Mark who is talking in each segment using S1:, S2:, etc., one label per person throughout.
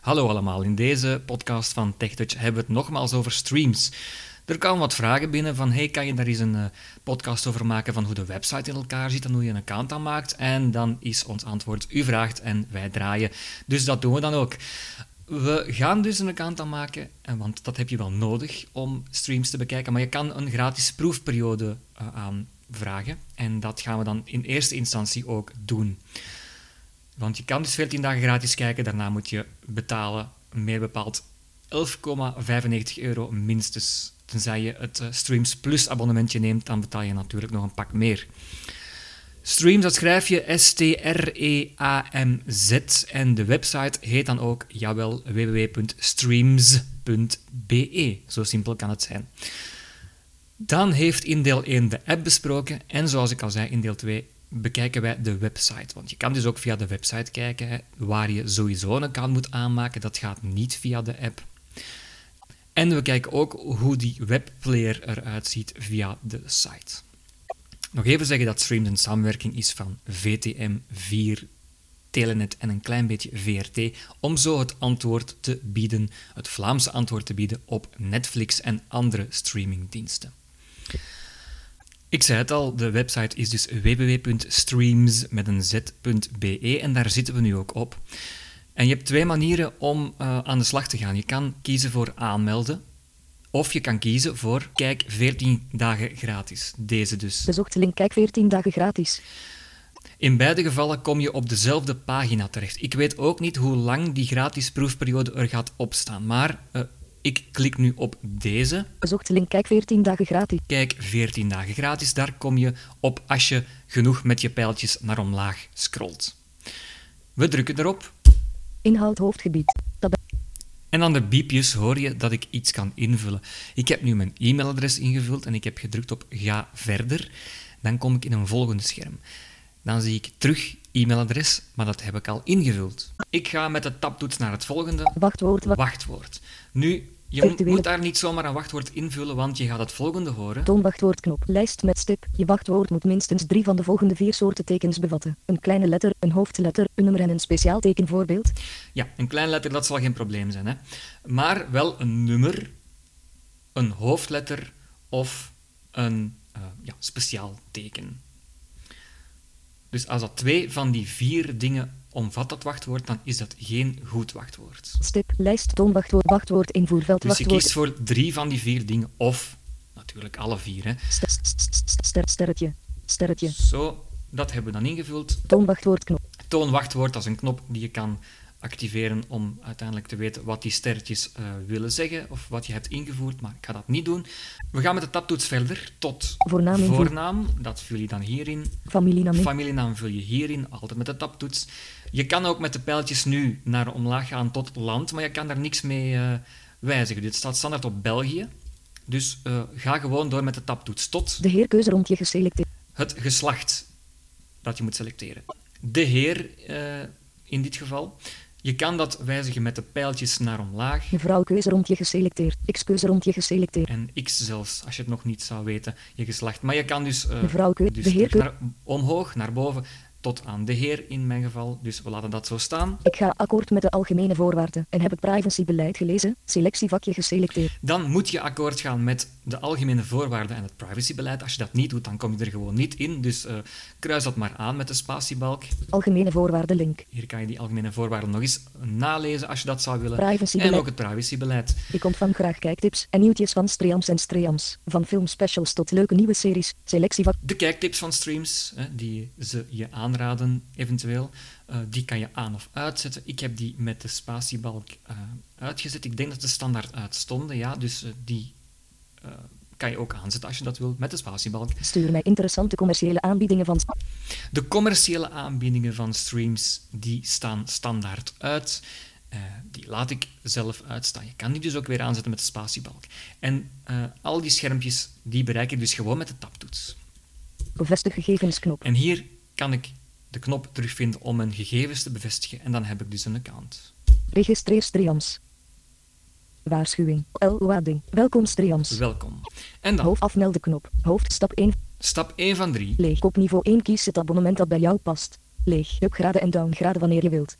S1: Hallo allemaal, in deze podcast van TechTouch hebben we het nogmaals over streams. Er kwamen wat vragen binnen van, hey, kan je daar eens een eh, podcast over maken van hoe de website in elkaar zit en hoe je een account aanmaakt? En dan is ons antwoord, u vraagt en wij draaien. Dus dat doen we dan ook. We gaan dus een account aanmaken, en want dat heb je wel nodig om streams te bekijken. Maar je kan een gratis proefperiode eh, aanvragen. En dat gaan we dan in eerste instantie ook doen. Want je kan dus 14 dagen gratis kijken, daarna moet je betalen, meer bepaald 11,95 euro minstens. Tenzij je het eh, Streams Plus abonnementje neemt, dan betaal je natuurlijk nog een pak meer. Streams, dat schrijf je E S-T-R-E-A-M-Z. En de website heet dan ook, jawel, www.streams.be. E. Zo simpel kan het zijn. Dan heeft in deel 1 de app besproken. En zoals ik al zei, in deel 2 bekijken wij de website. Want je kan dus ook via de website kijken, hè, waar je sowieso een account moet aanmaken. Dat gaat niet via de app. En we kijken ook hoe die webplayer eruit ziet via de site. Nog even zeggen dat Streams een samenwerking is van VTM 4, Telenet en een klein beetje VRT, om zo het antwoord te bieden, het Vlaamse antwoord te bieden op Netflix en andere streamingdiensten. Ik zei het al, de website is dus www.streams met een z.be E en daar zitten we nu ook op. En je hebt twee manieren om eh, aan de slag te gaan. Je kan kiezen voor aanmelden of je kan kiezen voor kijk 14 dagen gratis. Deze dus.
S2: Bezocht de link kijk 14 dagen gratis.
S1: In beide gevallen kom je op dezelfde pagina terecht. Ik weet ook niet hoe lang die gratis proefperiode er gaat opstaan, maar eh, ik klik nu op deze.
S2: Bezocht de link kijk 14 dagen gratis.
S1: Kijk, 14 dagen gratis, daar kom je op als je genoeg met je pijltjes naar omlaag scrolt. We drukken erop
S2: Inhoud hoofdgebied. Tab
S1: en aan de biepjes hoor je dat ik iets kan invullen. Ik heb nu mijn e-mailadres ingevuld en ik heb gedrukt op ga verder. Dan kom ik in een volgende scherm. Dan zie ik terug e-mailadres, maar dat heb ik al ingevuld. Ik ga met de tabtoets naar het volgende.
S2: wachtwoord wa-
S1: Wachtwoord. Nu, je
S2: Virtuele-
S1: moet daar niet zomaar een wachtwoord invullen, want je gaat het volgende horen.
S2: toonwachtwoordknop. Lijst met stip. Je wachtwoord moet minstens drie van de volgende vier soorten tekens bevatten. Een kleine letter, een hoofdletter, een nummer en een speciaal teken voorbeeld.
S1: Ja, een klein letter, dat zal geen probleem zijn. Hè? Maar wel een nummer, een hoofdletter of een eh, ja, speciaal teken. Dus als dat twee van die vier dingen omvat, dat wachtwoord, dan is dat geen goed wachtwoord.
S2: Stip. Lijst toonwachtwoord. Wachtwoord invoerveld.
S1: Dus je kiest
S2: Wachtwoord.
S1: voor drie van die vier dingen of natuurlijk alle vier. Hè?
S2: Ster, ster- ster- ster- sterretje. Sterretje.
S1: Zo, dat hebben we dan ingevuld.
S2: Toonwachtwoordknop.
S1: Toonwachtwoord, dat is een knop die je kan activeren om uiteindelijk te weten wat die sterretjes eh, willen zeggen of wat je hebt ingevoerd, maar ik ga dat niet doen. We gaan met de tabtoets verder tot
S2: Voornaam invoer.
S1: voornaam. Dat vul je dan hierin.
S2: Familienaam. in-
S1: Familienaam vul je hierin, altijd met de tabtoets. Je kan ook met de pijltjes nu naar omlaag gaan tot land, maar je kan daar niks mee eh, wijzigen. Dit staat standaard op België. Dus eh, ga gewoon door met de tabtoets tot
S2: De heerkeuze rond je geselecteerd.
S1: het geslacht dat je moet selecteren. De heer eh, in dit geval. Je kan dat wijzigen met de pijltjes naar omlaag
S2: Vrouwkeuze rond je geselecteerd. X-keuze rond je geselecteerd.
S1: en x zelfs, als je het nog niet zou weten, je geslacht. Maar je kan dus, eh,
S2: Mevrouw Keu-
S1: dus
S2: de heer
S1: terug
S2: Keu-
S1: naar, omhoog, naar boven, tot aan de heer in mijn geval. Dus we laten dat zo staan.
S2: Ik ga akkoord met de algemene voorwaarden en heb het privacybeleid gelezen. Selectievakje geselecteerd.
S1: Dan moet je akkoord gaan met de algemene voorwaarden en het privacybeleid. Als je dat niet doet, dan kom je er gewoon niet in. Dus eh, kruis dat maar aan met de spatiebalk.
S2: Algemene voorwaarden link.
S1: Hier kan je die algemene voorwaarden nog eens nalezen als je dat zou willen.
S2: Privacybeleid.
S1: En ook het privacybeleid.
S2: Ik ontvang graag kijktips en nieuwtjes van streams en streams. Van filmspecials tot leuke nieuwe series. Selectievak.
S1: De kijktips van streams, hè, die ze je aanraden eventueel, eh, die kan je aan of uitzetten. Ik heb die met de spatiebalk eh, uitgezet. Ik denk dat de standaard uitstonden, ja. Dus eh, die eh, kan je ook aanzetten als je dat wilt, met de spatiebalk.
S2: Stuur mij interessante commerciële aanbiedingen van.
S1: De commerciële aanbiedingen van streams die staan standaard uit. Eh, die laat ik zelf uitstaan. Je kan die dus ook weer aanzetten met de spatiebalk. En eh, al die schermpjes die bereik ik dus gewoon met de tabtoets.
S2: Bevestig gegevensknop.
S1: En hier kan ik de knop terugvinden om mijn gegevens te bevestigen en dan heb ik dus een account.
S2: Registreer streams. Waarschuwing. LOADing. Welkom streams.
S1: Welkom. En dan,
S2: Hoofdafmeldenknop. Hoofdstap 1.
S1: stap 1 van 3.
S2: Leeg. Op niveau 1 kies het abonnement dat bij jou past. Leeg. Upgraden en downgraden wanneer je wilt.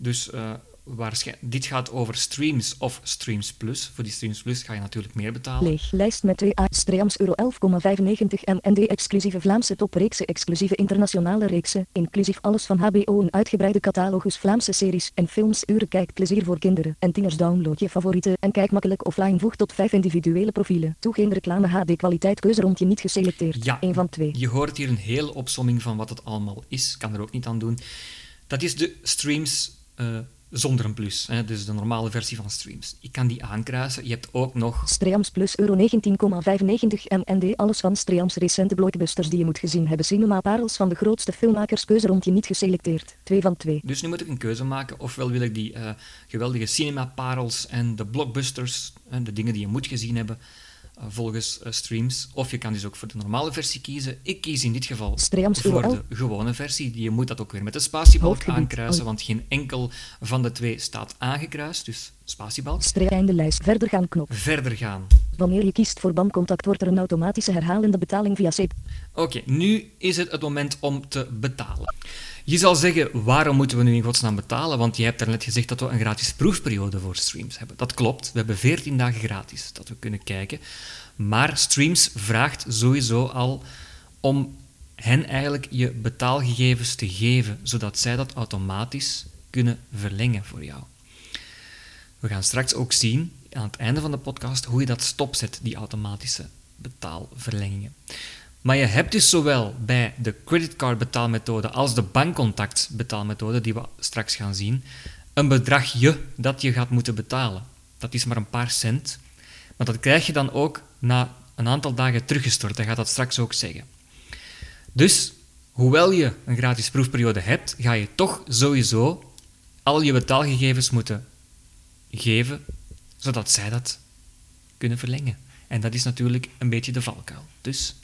S1: Dus eh, waarschijn- dit gaat over streams of streams plus. Voor die streams plus ga je natuurlijk meer betalen.
S2: Leeg. Lijst met 2A streams euro 11,95 MND exclusieve Vlaamse topreeksen, exclusieve internationale reeksen, inclusief alles van HBO een uitgebreide catalogus Vlaamse series en films uren kijkplezier voor kinderen en tieners download je favorieten en kijk makkelijk offline voeg tot 5 individuele profielen. Toe geen reclame HD kwaliteit keuze rond je niet geselecteerd.
S1: Ja.
S2: Eén van twee.
S1: Je hoort hier een hele opsomming van wat het allemaal is. Kan er ook niet aan doen. Dat is de streams eh, zonder een plus. Hè? Dus de normale versie van streams. Je kan die aankruisen. Je hebt ook nog
S2: Streams plus euro 19,95 MND alles van Streams recente blockbusters die je moet gezien hebben cinema parels van de grootste filmmakers keuze rond je niet geselecteerd. 2 van 2.
S1: Dus nu moet ik een keuze maken. Ofwel wil ik die eh, geweldige cinemaparels en de blockbusters, en de dingen die je moet gezien hebben, eh, volgens eh, streams. Of je kan dus ook voor de normale versie kiezen. Ik kies in dit geval
S2: Streams
S1: voor
S2: URL.
S1: de gewone versie. Je moet dat ook weer met de spatiebalk
S2: Hoofdgebied.
S1: aankruisen,
S2: Oh.
S1: want geen enkel van de twee staat aangekruist. Dus spatiebalk.
S2: Streep einde lijst. Verder gaan knop.
S1: Verder gaan.
S2: Wanneer je kiest voor BAM-contact wordt er een automatische herhalende betaling via SEP.
S1: Oké, nu is het het moment om te betalen. Je zal zeggen, waarom moeten we nu in godsnaam betalen? Want je hebt daarnet gezegd dat we een gratis proefperiode voor streams hebben. Dat klopt, we hebben 14 dagen gratis dat we kunnen kijken. Maar streams vraagt sowieso al om hen eigenlijk je betaalgegevens te geven, zodat zij dat automatisch kunnen verlengen voor jou. We gaan straks ook zien, aan het einde van de podcast, hoe je dat stopzet, die automatische betaalverlengingen. Maar je hebt dus zowel bij de creditcard betaalmethode als de bankcontact betaalmethode, die we straks gaan zien, een bedragje dat je gaat moeten betalen. Dat is maar een paar cent. Maar dat krijg je dan ook na een aantal dagen teruggestort. Hij gaat dat straks ook zeggen. Dus, hoewel je een gratis proefperiode hebt, ga je toch sowieso al je betaalgegevens moeten geven, zodat zij dat kunnen verlengen. En dat is natuurlijk een beetje de valkuil. Dus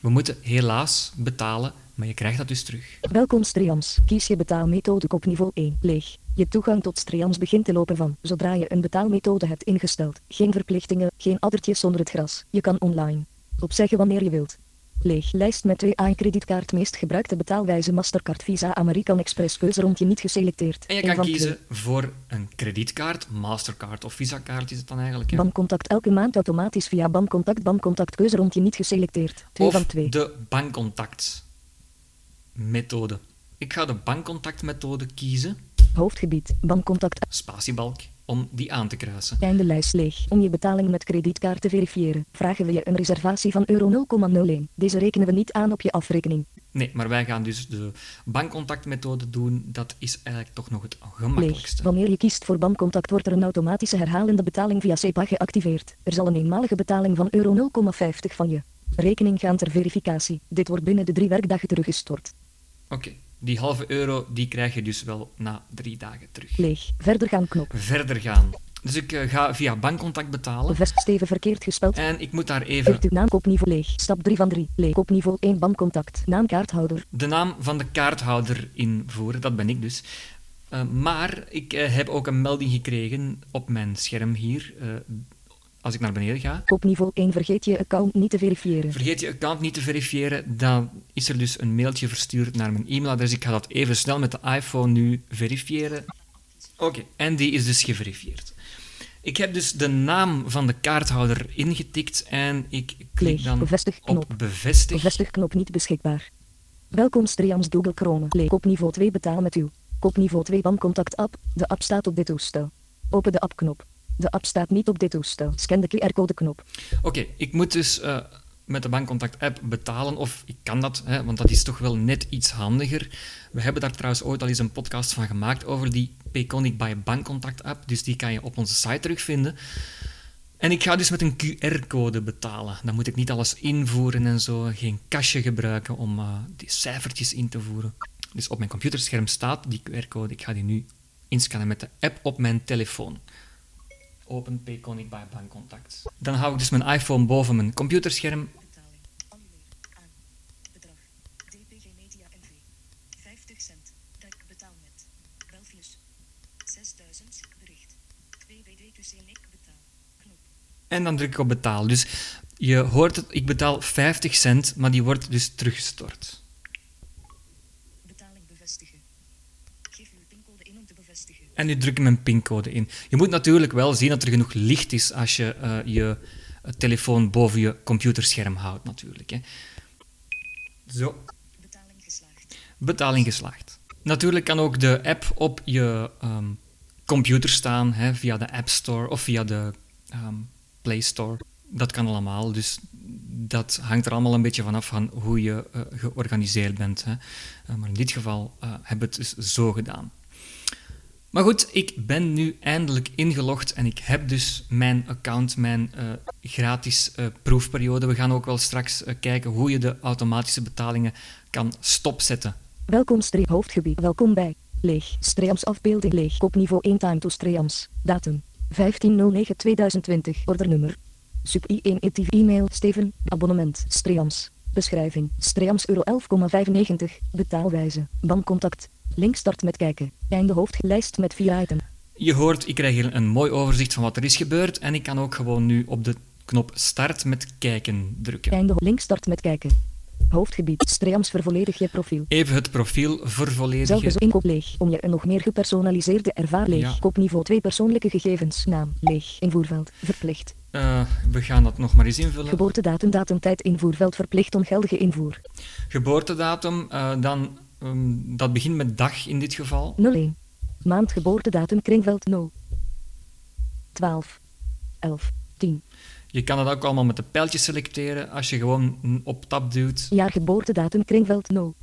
S1: we moeten helaas betalen, maar je krijgt dat dus terug.
S2: Welkom Streams. Kies je betaalmethode op niveau 1. Leeg. Je toegang tot Streams begint te lopen van zodra je een betaalmethode hebt ingesteld. Geen verplichtingen, geen addertjes zonder het gras. Je kan online. Opzeggen wanneer je wilt. Leeg. Lijst met 2A kredietkaart meest gebruikte betaalwijze Mastercard Visa American Express keuze rond je niet geselecteerd.
S1: En je
S2: Eén
S1: kan
S2: van twee.
S1: kiezen voor een kredietkaart, Mastercard of Visa-kaart is het dan eigenlijk. hè?
S2: BAM-contact elke maand automatisch via BAM-contact. BAM-contact keuze rond je niet geselecteerd. 2
S1: Of
S2: van 2.
S1: de bankcontactmethode. Ik ga de bankcontactmethode kiezen,
S2: Hoofdgebied. BAM-contact
S1: spatiebalk, om die aan te kruisen.
S2: Einde lijst leeg. Om je betaling met kredietkaart te verifiëren, vragen we je een reservatie van euro 0,01. Deze rekenen we niet aan op je afrekening.
S1: Nee, maar wij gaan dus de bankcontactmethode doen. Dat is eigenlijk toch nog het
S2: Leeg.
S1: gemakkelijkste.
S2: Wanneer je kiest voor bankcontact wordt er een automatische herhalende betaling via SEPA geactiveerd. Er zal een eenmalige betaling van euro 0,50 van je rekening gaan ter verificatie. Dit wordt binnen de drie werkdagen teruggestort.
S1: Oké, die halve euro die krijg je dus wel na drie dagen terug.
S2: Leeg. Verder gaan knop.
S1: Verder gaan. Dus ik eh, ga via bankcontact betalen.
S2: Vest Steven verkeerd gespeld.
S1: En ik moet daar even
S2: Heeft uw naam kopniveau leeg. Stap 3 van 3. Leeg. Kopniveau 1 bankcontact. Naam kaarthouder.
S1: de naam van de kaarthouder invoeren. Dat ben ik dus. Eh, maar ik eh, heb ook een melding gekregen op mijn scherm hier. eh, als ik naar beneden ga.
S2: Kopniveau 1 vergeet je account niet te verifiëren.
S1: Vergeet je account niet te verifiëren. Dan is er dus een mailtje verstuurd naar mijn e-mailadres. Ik ga dat even snel met de iPhone nu verifiëren. Oké, en die is dus geverifieerd. Ik heb dus de naam van de kaarthouder ingetikt en ik klik
S2: Leeg.
S1: dan
S2: Bevestig knop.
S1: op bevestig.
S2: Vestigknop niet beschikbaar. Welkom Streams Google Chrome. Leek op niveau 2 betaal met uw. Kopniveau niveau 2 bankcontact app. De app staat op dit toestel. Open de app knop. De app staat niet op dit toestel. Scan de QR-code knop.
S1: Oké, ik moet dus eh, met de bankcontact-app betalen, of ik kan dat, hè, want dat is toch wel net iets handiger. We hebben daar trouwens ooit al eens een podcast van gemaakt over die Payconic by Bankcontact-app, dus die kan je op onze site terugvinden. En ik ga dus met een QR-code betalen. Dan moet ik niet alles invoeren en zo, geen kastje gebruiken om eh, die cijfertjes in te voeren. Dus op mijn computerscherm staat die QR-code. Ik ga die nu inscannen met de app op mijn telefoon. Open Payconic by Bankcontact. Dan hou ik dus mijn iPhone boven mijn computerscherm.
S3: Betaling. Annuleer. Aan. Bedrag. DPG Media NV. 50 cent. Dat betaal met. Belfius. 6000. Bericht. 2WDQC. Nick betaal. Knop.
S1: En dan druk ik op betaal. Dus je hoort het, ik betaal 50 cent, maar die wordt dus teruggestort.
S3: Betaling bevestigen. Geef uw pincode in om te bevestigen.
S1: En nu druk ik mijn pincode in. Je moet natuurlijk wel zien dat er genoeg licht is als je eh, je telefoon boven je computerscherm houdt, natuurlijk. Hè. Zo,
S3: Betaling geslaagd.
S1: betaling geslaagd. Natuurlijk kan ook de app op je ehm, computer staan, hè, via de App Store of via de ehm, Play Store. Dat kan allemaal, dus dat hangt er allemaal een beetje vanaf van hoe je eh, georganiseerd bent. Hè. Eh, maar in dit geval eh, hebben we het dus zo gedaan. Maar goed, ik ben nu eindelijk ingelogd en ik heb dus mijn account, mijn eh, gratis eh, proefperiode. We gaan ook wel straks eh, kijken hoe je de automatische betalingen kan stopzetten.
S2: Welkom streep hoofdgebied. Welkom bij leeg. Streams afbeelding leeg. Kopniveau 1 time to streams. Datum 1509-2020. Ordernummer. Sub I1 ETV e-mail Steven. Abonnement streams. Beschrijving streams euro 11,95. Betaalwijze. Bankcontact. Link start met kijken. Einde hoofdlijst met 4 item.
S1: Je hoort, ik krijg hier een mooi overzicht van wat er is gebeurd en ik kan ook gewoon nu op de knop start met kijken drukken.
S2: Einde ho- link start met kijken. Hoofdgebied streams vervolledig je profiel.
S1: Even het profiel
S2: Zelfs
S1: vervolledigen.
S2: inkoop leeg. Om je een nog meer gepersonaliseerde ervaring leeg.
S1: Ja.
S2: Kopniveau 2 persoonlijke gegevens. Naam leeg. Invoerveld verplicht.
S1: Eh, we gaan dat nog maar eens invullen.
S2: Geboortedatum, datum, tijd, invoerveld verplicht ongeldige invoer.
S1: Geboortedatum, eh, dan, ehm, dat begint met dag in dit geval.
S2: 01. Maand geboortedatum, kringveld 0. 12. 11. 10.
S1: Je kan dat ook allemaal met de pijltjes selecteren als je gewoon mm, op tab duwt.
S2: Jaar geboortedatum, kringveld 0.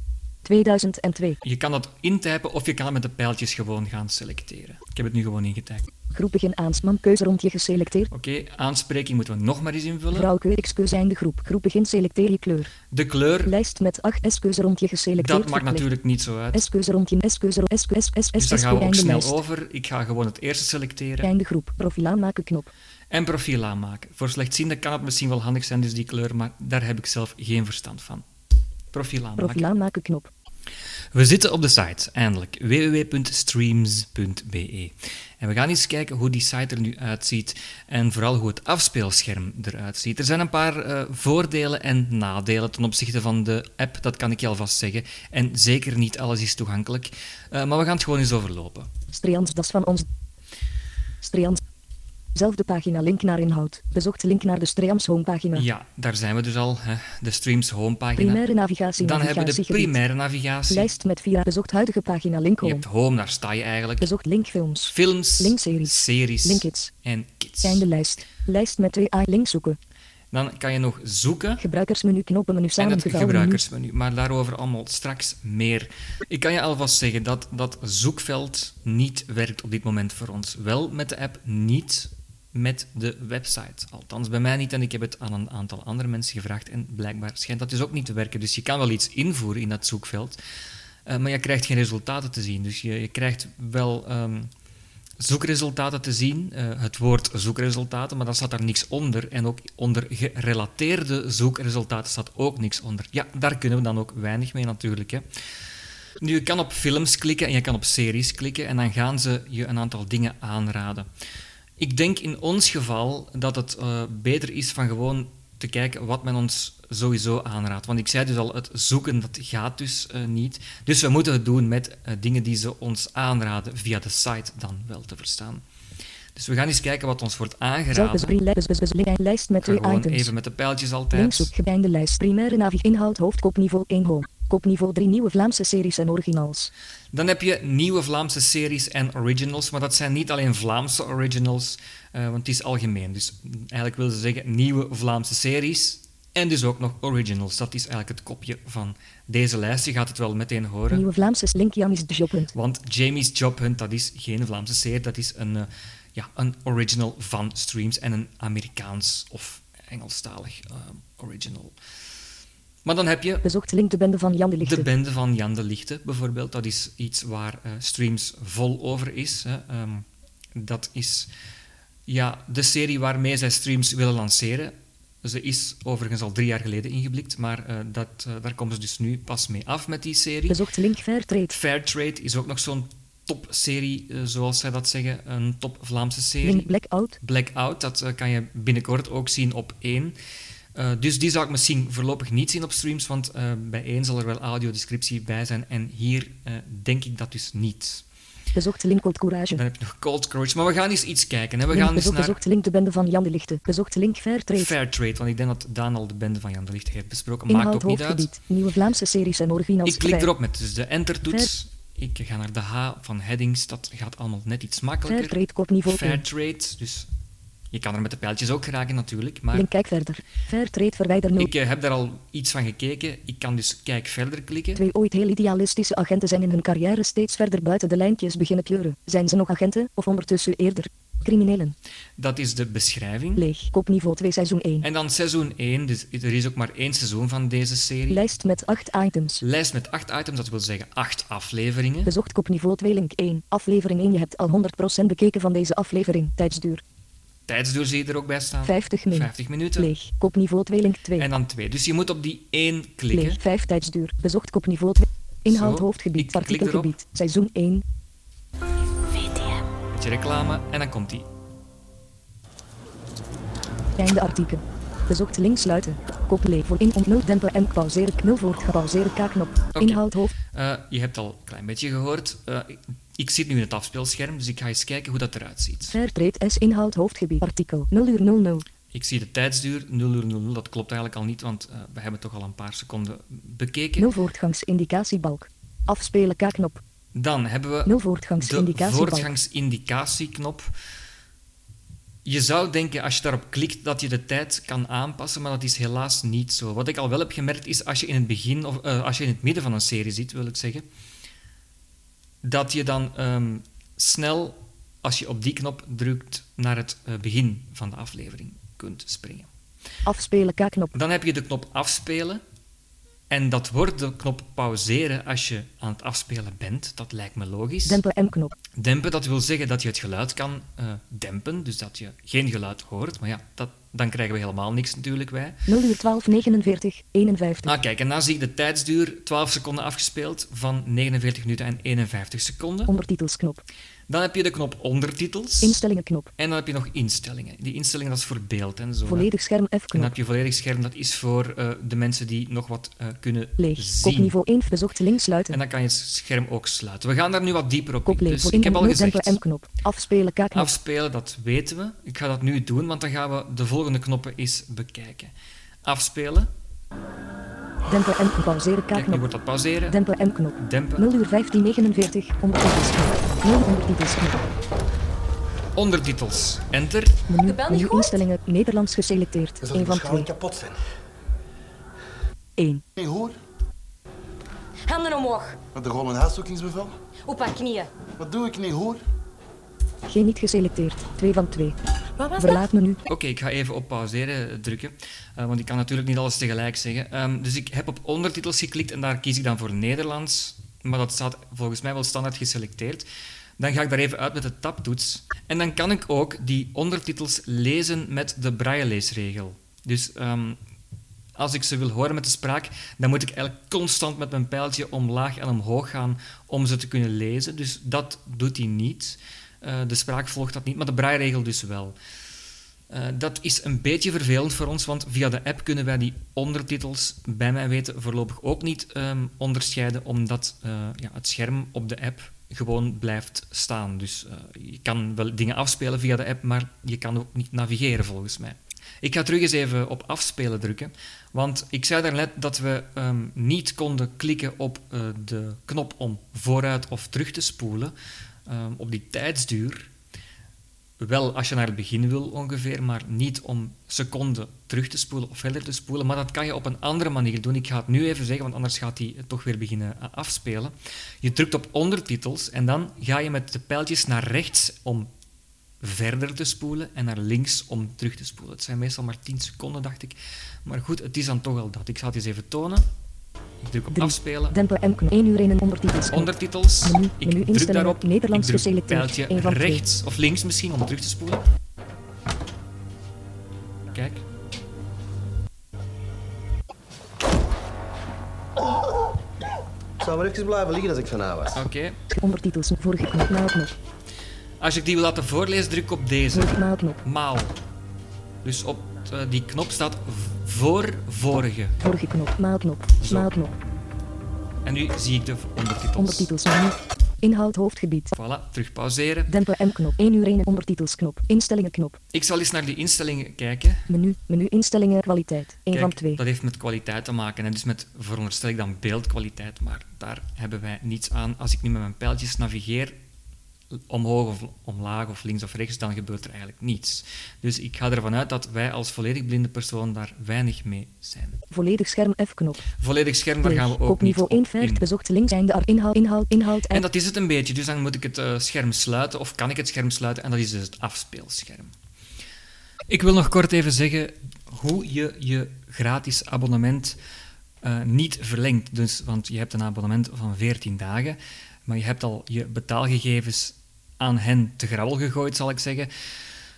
S2: 2002.
S1: Je kan dat intypen of je kan het met de pijltjes gewoon gaan selecteren. Ik heb het nu gewoon ingetypt.
S2: Groep begin aansman, keuze rond je geselecteerd.
S1: Oké, aanspreking moeten we nog maar eens invullen.
S2: Vrouw keur, X-keuze einde groep. Groep begin, selecteer je kleur.
S1: De kleur,
S2: Lijst met 8 S-keuze rond je geselecteerd.
S1: dat maakt
S2: verplicht.
S1: natuurlijk niet zo uit.
S2: S-keuze rond je S-keuze rond S-keuze S-keuze
S1: Dus daar
S2: S-keuze
S1: gaan we ook
S2: einde
S1: snel
S2: lijst.
S1: over. Ik ga gewoon het eerste selecteren
S2: Einde groep, profiel aanmaken knop.
S1: en profiel aanmaken. Voor slechtzienden kan het misschien wel handig zijn, dus die kleur, maar daar heb ik zelf geen verstand van. Profiel aanmaken.
S2: Profiel aanmaken knop.
S1: We zitten op de site, eindelijk. www.streams.be En we gaan eens kijken hoe die site er nu uitziet en vooral hoe het afspeelscherm eruit ziet. Er zijn een paar eh, voordelen en nadelen ten opzichte van de app, dat kan ik je alvast zeggen. En zeker niet alles is toegankelijk, Eh, maar we gaan het gewoon eens overlopen.
S2: Streans, das van ons. Streans. Zelfde pagina, link naar inhoud. Bezocht link naar de Streams homepagina.
S1: Ja, daar zijn we dus al. Hè. De streams homepagina.
S2: Primaire navigatie,
S1: Dan hebben we de
S2: navigatiegebied.
S1: primaire navigatie.
S2: Lijst met via bezocht huidige pagina, link
S1: Je
S2: home.
S1: hebt home, daar sta je eigenlijk.
S2: Bezocht link films.
S1: Films,
S2: Dus Linkseries.
S1: series
S2: Linkits.
S1: en kids.
S2: Einde lijst. Lijst met 2a link zoeken.
S1: Dan kan je nog zoeken
S2: Gebruikersmenu knoppen menu
S1: en het
S2: samengevouwen menu.
S1: gebruikersmenu. Maar daarover allemaal straks meer. Ik kan je alvast zeggen dat dat zoekveld niet werkt op dit moment voor ons. Wel met de app, niet met de website. Althans, bij mij niet. En ik heb het aan een aantal andere mensen gevraagd. En blijkbaar schijnt dat dus ook niet te werken. Dus je kan wel iets invoeren in dat zoekveld. eh, maar je krijgt geen resultaten te zien. Dus je, je krijgt wel ehm, zoekresultaten te zien. eh, het woord zoekresultaten, maar daar staat daar niks onder. En ook onder gerelateerde zoekresultaten staat ook niks onder. Ja, daar kunnen we dan ook weinig mee natuurlijk. Hè. Nu, je kan op films klikken en je kan op series klikken en dan gaan ze je een aantal dingen aanraden. Ik denk in ons geval dat het eh, beter is van gewoon te kijken wat men ons sowieso aanraadt. Want ik zei dus al, het zoeken dat gaat dus eh, niet. Dus we moeten het doen met eh, dingen die ze ons aanraden via de site dan wel te verstaan. Dus we gaan eens kijken wat ons wordt
S2: Zelfs
S1: aangeraden.
S2: pri- lijst, bes- bes- link- lijst met
S1: Ik ga
S2: 2
S1: gewoon
S2: items.
S1: even met de pijltjes
S2: Link
S1: altijd.
S2: zoek gebeinde lijst. Primaire navi inhoud hoofdkopniveau 1 home. Kopniveau 3 nieuwe Vlaamse series en originals.
S1: Dan heb je nieuwe Vlaamse series en originals, maar dat zijn niet alleen Vlaamse originals, eh, want het is algemeen. Dus eigenlijk wil ze zeggen nieuwe Vlaamse series en dus ook nog originals. Dat is eigenlijk het kopje van deze lijst. Je gaat het wel meteen horen.
S2: Nieuwe Vlaamse link Janis de Jobpunt.
S1: Want Jamie's Job Hunt, dat is geen Vlaamse serie, dat is een, eh, ja, een original van Streams en een Amerikaans of Engelstalig eh, original. Maar dan heb je
S2: Bezocht link de bende van Jan de Lichte.
S1: de bende van Jan de Lichte bijvoorbeeld, dat is iets waar eh, Streams vol over is. Hè. Ehm, dat is ja, de serie waarmee zij Streams willen lanceren. Ze is overigens al drie jaar geleden ingeblikt, maar eh, dat, eh, daar komen ze dus nu pas mee af met die serie.
S2: Bezocht link Fairtrade.
S1: Fairtrade is ook nog zo'n topserie, eh, zoals zij dat zeggen, een top Vlaamse serie.
S2: Link Blackout.
S1: Blackout, dat eh, kan je binnenkort ook zien op 1. Eh, dus die zou ik misschien voorlopig niet zien op streams, want eh, bij 1 zal er wel audiodescriptie bij zijn en hier eh, denk ik dat dus niet.
S2: Bezocht link Cold Courage.
S1: Dan heb je nog Cold Courage. Maar we gaan eens iets kijken. Hè. We
S2: Link
S1: gaan eens
S2: bezocht,
S1: naar
S2: bezocht link de bende van Jan de Lichte. Bezocht link Fairtrade.
S1: Fairtrade. Want ik denk dat Daan al de bende van Jan de Licht heeft besproken. Maakt
S2: Inhoud
S1: ook niet uit.
S2: hoofdgebied. Nieuwe Vlaamse series en originals.
S1: Ik klik
S2: Fair-
S1: erop met dus de enter-toets. Ik ga naar de H van headings. Dat gaat allemaal net iets makkelijker.
S2: Fairtrade kop niveau één.
S1: Fairtrade. Dus je kan er met de pijltjes ook geraken natuurlijk. Maar
S2: Link kijk verder. Fairtrade verwijder 0.
S1: ik eh, heb daar al iets van gekeken. Ik kan dus kijk verder klikken.
S2: Twee ooit heel idealistische agenten zijn in hun carrière steeds verder buiten de lijntjes beginnen pleuren. Zijn ze nog agenten of ondertussen eerder criminelen?
S1: Dat is de beschrijving.
S2: Leeg. Kop niveau 2 seizoen 1.
S1: En dan seizoen 1. Dus er is ook maar één seizoen van deze serie.
S2: Lijst met 8 items.
S1: Lijst met acht items, dat wil zeggen acht afleveringen.
S2: Bezocht kop niveau 2 link 1. Aflevering 1. Je hebt al 100% bekeken van deze aflevering. Tijdsduur
S1: Tijdsduur zie je er ook bij staan.
S2: 50 minuten.
S1: 50 minuten.
S2: Leeg. Kop niveau 2 link 2.
S1: En dan twee. Dus je moet op die één klikken.
S2: Leeg. 5 tijdsduur. Bezocht kop niveau 2. Inhoud
S1: Zo, ik
S2: hoofdgebied.
S1: klik
S2: Artikelgebied. Seizoen 1.
S1: Beetje reclame en dan komt die.
S2: Einde artikel. Bezocht link sluiten. Kop leeg voor in ontnul dempen en pauzeren knul voor het gepauzeren k-knop. Inhoud hoofd.
S1: Eh, je hebt al een klein beetje gehoord. Eh, ik- ik zit nu in het afspeelscherm, dus ik ga eens kijken hoe dat eruit ziet.
S2: Fairtrade S inhoud hoofdgebied artikel 0 uur 00.
S1: Ik zie de tijdsduur 0 uur 00. Dat klopt eigenlijk al niet, want eh, we hebben toch al een paar seconden bekeken.
S2: 0 voortgangsindicatiebalk. Afspelen k-knop.
S1: Dan hebben we
S2: 0
S1: de
S2: voortgangsindicatiebalk.
S1: voortgangsindicatieknop. Je zou denken als je daarop klikt dat je de tijd kan aanpassen, maar dat is helaas niet zo. Wat ik al wel heb gemerkt is als je in het begin of eh, als je in het midden van een serie zit, wil ik zeggen, dat je dan ehm, snel, als je op die knop drukt, naar het eh, begin van de aflevering kunt springen.
S2: Afspelen k-knop.
S1: Dan heb je de knop afspelen. En dat wordt de knop pauzeren als je aan het afspelen bent. Dat lijkt me logisch.
S2: Dempen M-knop.
S1: Dempen, dat wil zeggen dat je het geluid kan eh, dempen, dus dat je geen geluid hoort. Maar ja, dat, dan krijgen we helemaal niks natuurlijk bij.
S2: 0 uur 12 49 51.
S1: Ah, kijk, en dan zie ik de tijdsduur 12 seconden afgespeeld van 49 minuten en 51 seconden.
S2: Ondertitelsknop.
S1: Dan heb je de knop ondertitels.
S2: Instellingenknop.
S1: En dan heb je nog instellingen. Die instellingen, dat is voor beeld en zo. hè.
S2: Volledig scherm
S1: En dan
S2: F-knop.
S1: heb je volledig scherm, dat is voor eh, de mensen die nog wat eh, kunnen
S2: Leeg.
S1: zien.
S2: Kopniveau 1 bezocht links
S1: En
S2: sluiten.
S1: dan kan je het scherm ook sluiten. We gaan daar nu wat dieper op
S2: Kop
S1: in.
S2: leeg
S1: Dus
S2: voor
S1: ik heb al
S2: in
S1: gezegd...
S2: dempen M-knop. Afspelen k-knop.
S1: Afspelen, dat weten we. Ik ga dat nu doen, want dan gaan we de volgende knoppen eens bekijken. Afspelen.
S2: Dempen M-knop. Pauzeren
S1: Kijk, nu
S2: k-knop.
S1: wordt dat pauzeren.
S2: Dempen M-knop.
S1: Dempen.
S2: 0 uur 15 49 ondertitelsknop. 0 ondertitelsknop.
S1: Ondertitels. Enter.
S2: Menu,
S4: De bel niet
S2: menu
S4: gehoord?
S2: instellingen. Nederlands geselecteerd.
S5: Dan zal
S2: 1 van
S5: ik waarschijnlijk
S2: 2.
S5: kapot zijn.
S2: 1.
S5: Nee, hoor.
S4: Handen omhoog.
S5: Met de rollen huiszoekingsbevel.
S4: Op haar knieën.
S5: Wat doe ik niet, hoor?
S2: Geen niet geselecteerd. 2 van 2.
S4: Wat was dat?
S2: Verlaat menu.
S1: Oké, ik ga even op pauzeren eh, drukken, eh, want ik kan natuurlijk niet alles tegelijk zeggen. Ehm, dus ik heb op ondertitels geklikt en daar kies ik dan voor Nederlands. Maar dat staat volgens mij wel standaard geselecteerd. Dan ga ik daar even uit met de tabtoets. En dan kan ik ook die ondertitels lezen met de brailleleesregel. Dus ehm, als ik ze wil horen met de spraak, dan moet ik eigenlijk constant met mijn pijltje omlaag en omhoog gaan om ze te kunnen lezen. Dus dat doet hij niet. Eh, de spraak volgt dat niet, maar de braairegel dus wel. Eh, dat is een beetje vervelend voor ons, want via de app kunnen wij die ondertitels, bij mij weten, voorlopig ook niet ehm, onderscheiden, omdat eh, ja, het scherm op de app gewoon blijft staan. Dus eh, je kan wel dingen afspelen via de app, maar je kan ook niet navigeren volgens mij. Ik ga terug eens even op afspelen drukken, want ik zei daarnet dat we ehm, niet konden klikken op eh, de knop om vooruit of terug te spoelen, ehm, op die tijdsduur wel als je naar het begin wil ongeveer, maar niet om seconden terug te spoelen of verder te spoelen. Maar dat kan je op een andere manier doen. Ik ga het nu even zeggen, want anders gaat hij toch weer beginnen eh, afspelen. Je drukt op ondertitels en dan ga je met de pijltjes naar rechts om verder te spoelen en naar links om terug te spoelen. Het zijn meestal maar 10 seconden, dacht ik. Maar goed, het is dan toch al dat. Ik zal het eens even tonen. Ik druk op
S2: 3.
S1: afspelen.
S2: Dempen M-knop. 1 uur in een ondertitelsknop.
S1: Ondertitels.
S2: Menu-
S1: ik
S2: menu
S1: druk
S2: instellingen,
S1: daarop.
S2: Nederlands
S1: ik druk
S2: geselecteerd.
S1: pijltje
S2: Eén van twee.
S1: rechts of links misschien om terug te spoelen. Kijk.
S5: Ik zou maar even blijven liggen als ik van was.
S1: Oké.
S2: Ondertitels. Vorige knop. Maalknop.
S1: Als ik die wil laten voorlezen, druk ik op deze.
S2: Vorige maalknop.
S1: Maal. Dus op eh, die knop staat v- voor vorige.
S2: Vorige knop. Maalknop.
S1: Zo.
S2: Maalknop.
S1: En nu zie ik de ondertitels.
S2: Ondertitels. Menu. Inhoud hoofdgebied.
S1: Voilà, terug pauzeren.
S2: Dempen en knop. 1 uur 1 ondertitelsknop. Instellingen knop.
S1: Ik zal eens naar die instellingen kijken.
S2: Menu. Menu instellingen kwaliteit. 1
S1: Kijk,
S2: van 2.
S1: Dat heeft met kwaliteit te maken. En dus met, veronderstel ik dan, beeldkwaliteit. Maar daar hebben wij niets aan. Als ik nu met mijn pijltjes navigeer, omhoog of omlaag of links of rechts, dan gebeurt er eigenlijk niets. Dus ik ga ervan uit dat wij als volledig blinde persoon daar weinig mee zijn.
S2: Volledig scherm F knop.
S1: Volledig scherm, daar gaan we
S2: Leeg.
S1: ook
S2: Op niveau
S1: niet
S2: 1
S1: op in.
S2: Dus vergt bezocht links einde ar inhoud inhoud inhoud
S1: En
S2: en
S1: dat is het een beetje. Dus dan moet ik het eh, scherm sluiten, of kan ik het scherm sluiten, en dat is dus het afspeelscherm. Ik wil nog kort even zeggen hoe je je gratis abonnement eh, niet verlengt. Dus, want je hebt een abonnement van 14 dagen, maar je hebt al je betaalgegevens aan hen te grabbel gegooid, zal ik zeggen.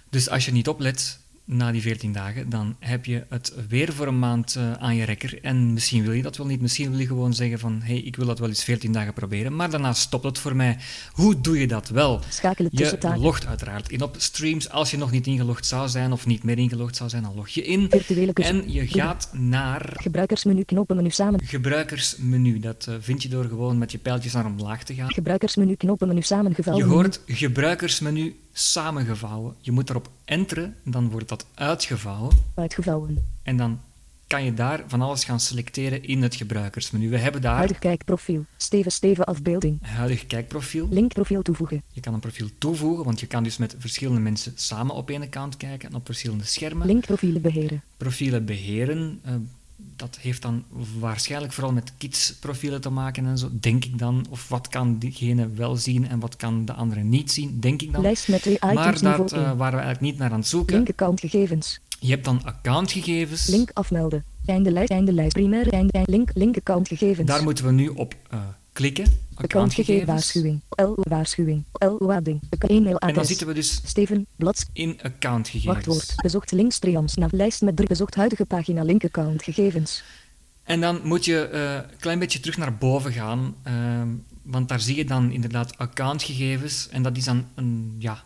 S1: Dus als je niet oplet na die 14 dagen, dan heb je het weer voor een maand eh, aan je rekker. En misschien wil je dat wel niet. Misschien wil je gewoon zeggen van, hé, hey, ik wil dat wel eens 14 dagen proberen, maar daarna stopt het voor mij. Hoe doe je dat wel?
S2: Schakelen tussen
S1: Je
S2: taken.
S1: logt uiteraard in op streams. Als je nog niet ingelogd zou zijn of niet meer ingelogd zou zijn, dan log je in.
S2: Virtuele kus-
S1: En je gaat naar
S2: gebruikersmenu knopen menu samen.
S1: gebruikersmenu. Dat eh, vind je door gewoon met je pijltjes naar omlaag te gaan.
S2: Gebruikersmenu knopen menu samengevouwen.
S1: Je hoort gebruikersmenu samengevouwen. Je moet erop enteren, dan wordt dat uitgevouwen.
S2: uitgevouwen.
S1: En dan kan je daar van alles gaan selecteren in het gebruikersmenu. We hebben daar
S2: Huidig kijkprofiel. Steven steven afbeelding.
S1: huidig kijkprofiel.
S2: Link profiel toevoegen.
S1: Je kan een profiel toevoegen, want je kan dus met verschillende mensen samen op één account kijken en op verschillende schermen.
S2: Link profielen beheren.
S1: profielen beheren. eh, dat heeft dan waarschijnlijk vooral met kidsprofielen te maken en zo, denk ik dan. Of wat kan diegene wel zien en wat kan de andere niet zien, denk ik dan.
S2: Lijst met twee items
S1: maar daar
S2: niveau
S1: eh,
S2: één.
S1: waren we eigenlijk niet naar aan het zoeken.
S2: Link accountgegevens.
S1: Je hebt dan accountgegevens.
S2: Link afmelden. Einde lijst einde lijst primaire einde einde- link link accountgegevens.
S1: Daar moeten we nu op eh, klikken.
S2: Accountgegevens. Waarschuwing. L waarschuwing. L waarding. E-mailadres.
S1: En dan zitten we dus
S2: Steven blads
S1: in accountgegevens.
S2: Wachtwoord. Bezocht links triams naar lijst met drie bezocht huidige pagina link account gegevens.
S1: En dan moet je eh, een klein beetje terug naar boven gaan, ehm, want daar zie je dan inderdaad accountgegevens en dat is dan een, ja,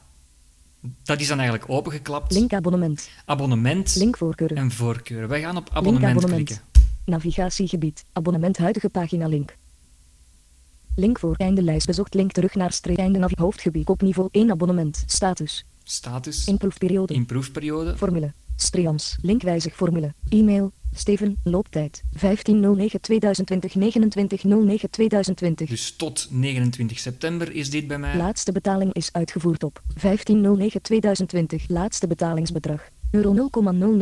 S1: dat is dan eigenlijk opengeklapt.
S2: Link abonnement.
S1: Abonnement
S2: Link voorkeuren.
S1: en voorkeuren. Wij gaan op
S2: Link
S1: abonnement,
S2: abonnement.
S1: klikken.
S2: Navigatiegebied. Abonnement huidige pagina link. Link voor einde lijst bezocht link terug naar streep einde navi hoofdgebied op niveau 1 abonnement status
S1: Status,
S2: in proefperiode
S1: improefperiode.
S2: formule streams link wijzig formule e-mail Steven looptijd 1509 2020 2909 2020
S1: Dus tot 29 september is dit bij mij.
S2: Laatste betaling is uitgevoerd op 1509-2020. Laatste betalingsbedrag. Euro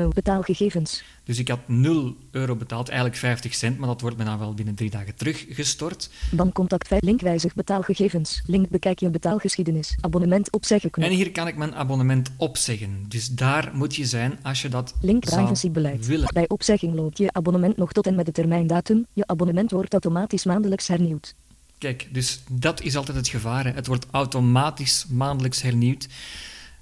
S2: 0,00 betaalgegevens.
S1: Dus ik had 0 euro betaald, eigenlijk 50 cent, maar dat wordt me dan wel binnen drie dagen teruggestort.
S2: Bankcontact 5. Link wijzig betaalgegevens. Link bekijk je betaalgeschiedenis. Abonnement opzeggen knop.
S1: En hier kan ik mijn abonnement opzeggen. Dus daar moet je zijn als je dat
S2: Link
S1: zou
S2: privacybeleid.
S1: willen.
S2: Bij opzegging loopt je abonnement nog tot en met de termijndatum. Je abonnement wordt automatisch maandelijks hernieuwd.
S1: Kijk, dus dat is altijd het gevaar. hè. Het wordt automatisch maandelijks hernieuwd.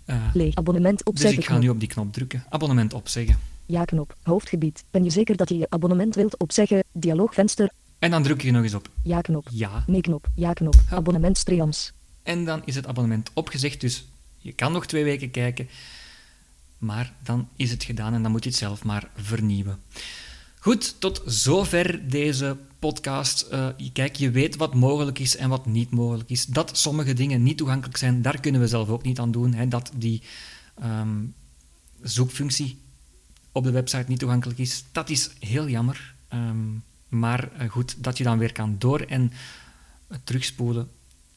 S1: Eh,
S2: Leeg. Abonnement
S1: dus
S2: opzeggen
S1: ik ga nu op die knop drukken. Abonnement opzeggen.
S2: Ja knop. Hoofdgebied. Ben je zeker dat je je abonnement wilt opzeggen? Dialoogvenster.
S1: En dan druk je nog eens op
S2: Ja knop.
S1: ja.
S2: Nee knop. Ja knop. Abonnement streams.
S1: En dan is het abonnement opgezegd. Dus je kan nog twee weken kijken. Maar dan is het gedaan en dan moet je het zelf maar vernieuwen. Goed, tot zover deze podcast. Eh, je- kijk, je weet wat mogelijk is en wat niet mogelijk is. Dat sommige dingen niet toegankelijk zijn, daar kunnen we zelf ook niet aan doen. Hè, dat die ehm, zoekfunctie op de website niet toegankelijk is, dat is heel jammer. Ehm, maar eh, goed, dat je dan weer kan door en het terugspoelen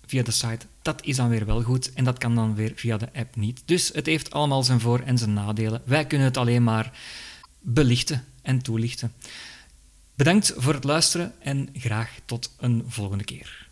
S1: via de site, dat is dan weer wel goed. En dat kan dan weer via de app niet. Dus het heeft allemaal zijn voor- en zijn nadelen. Wij kunnen het alleen maar belichten en toelichten. Bedankt voor het luisteren en graag tot een volgende keer.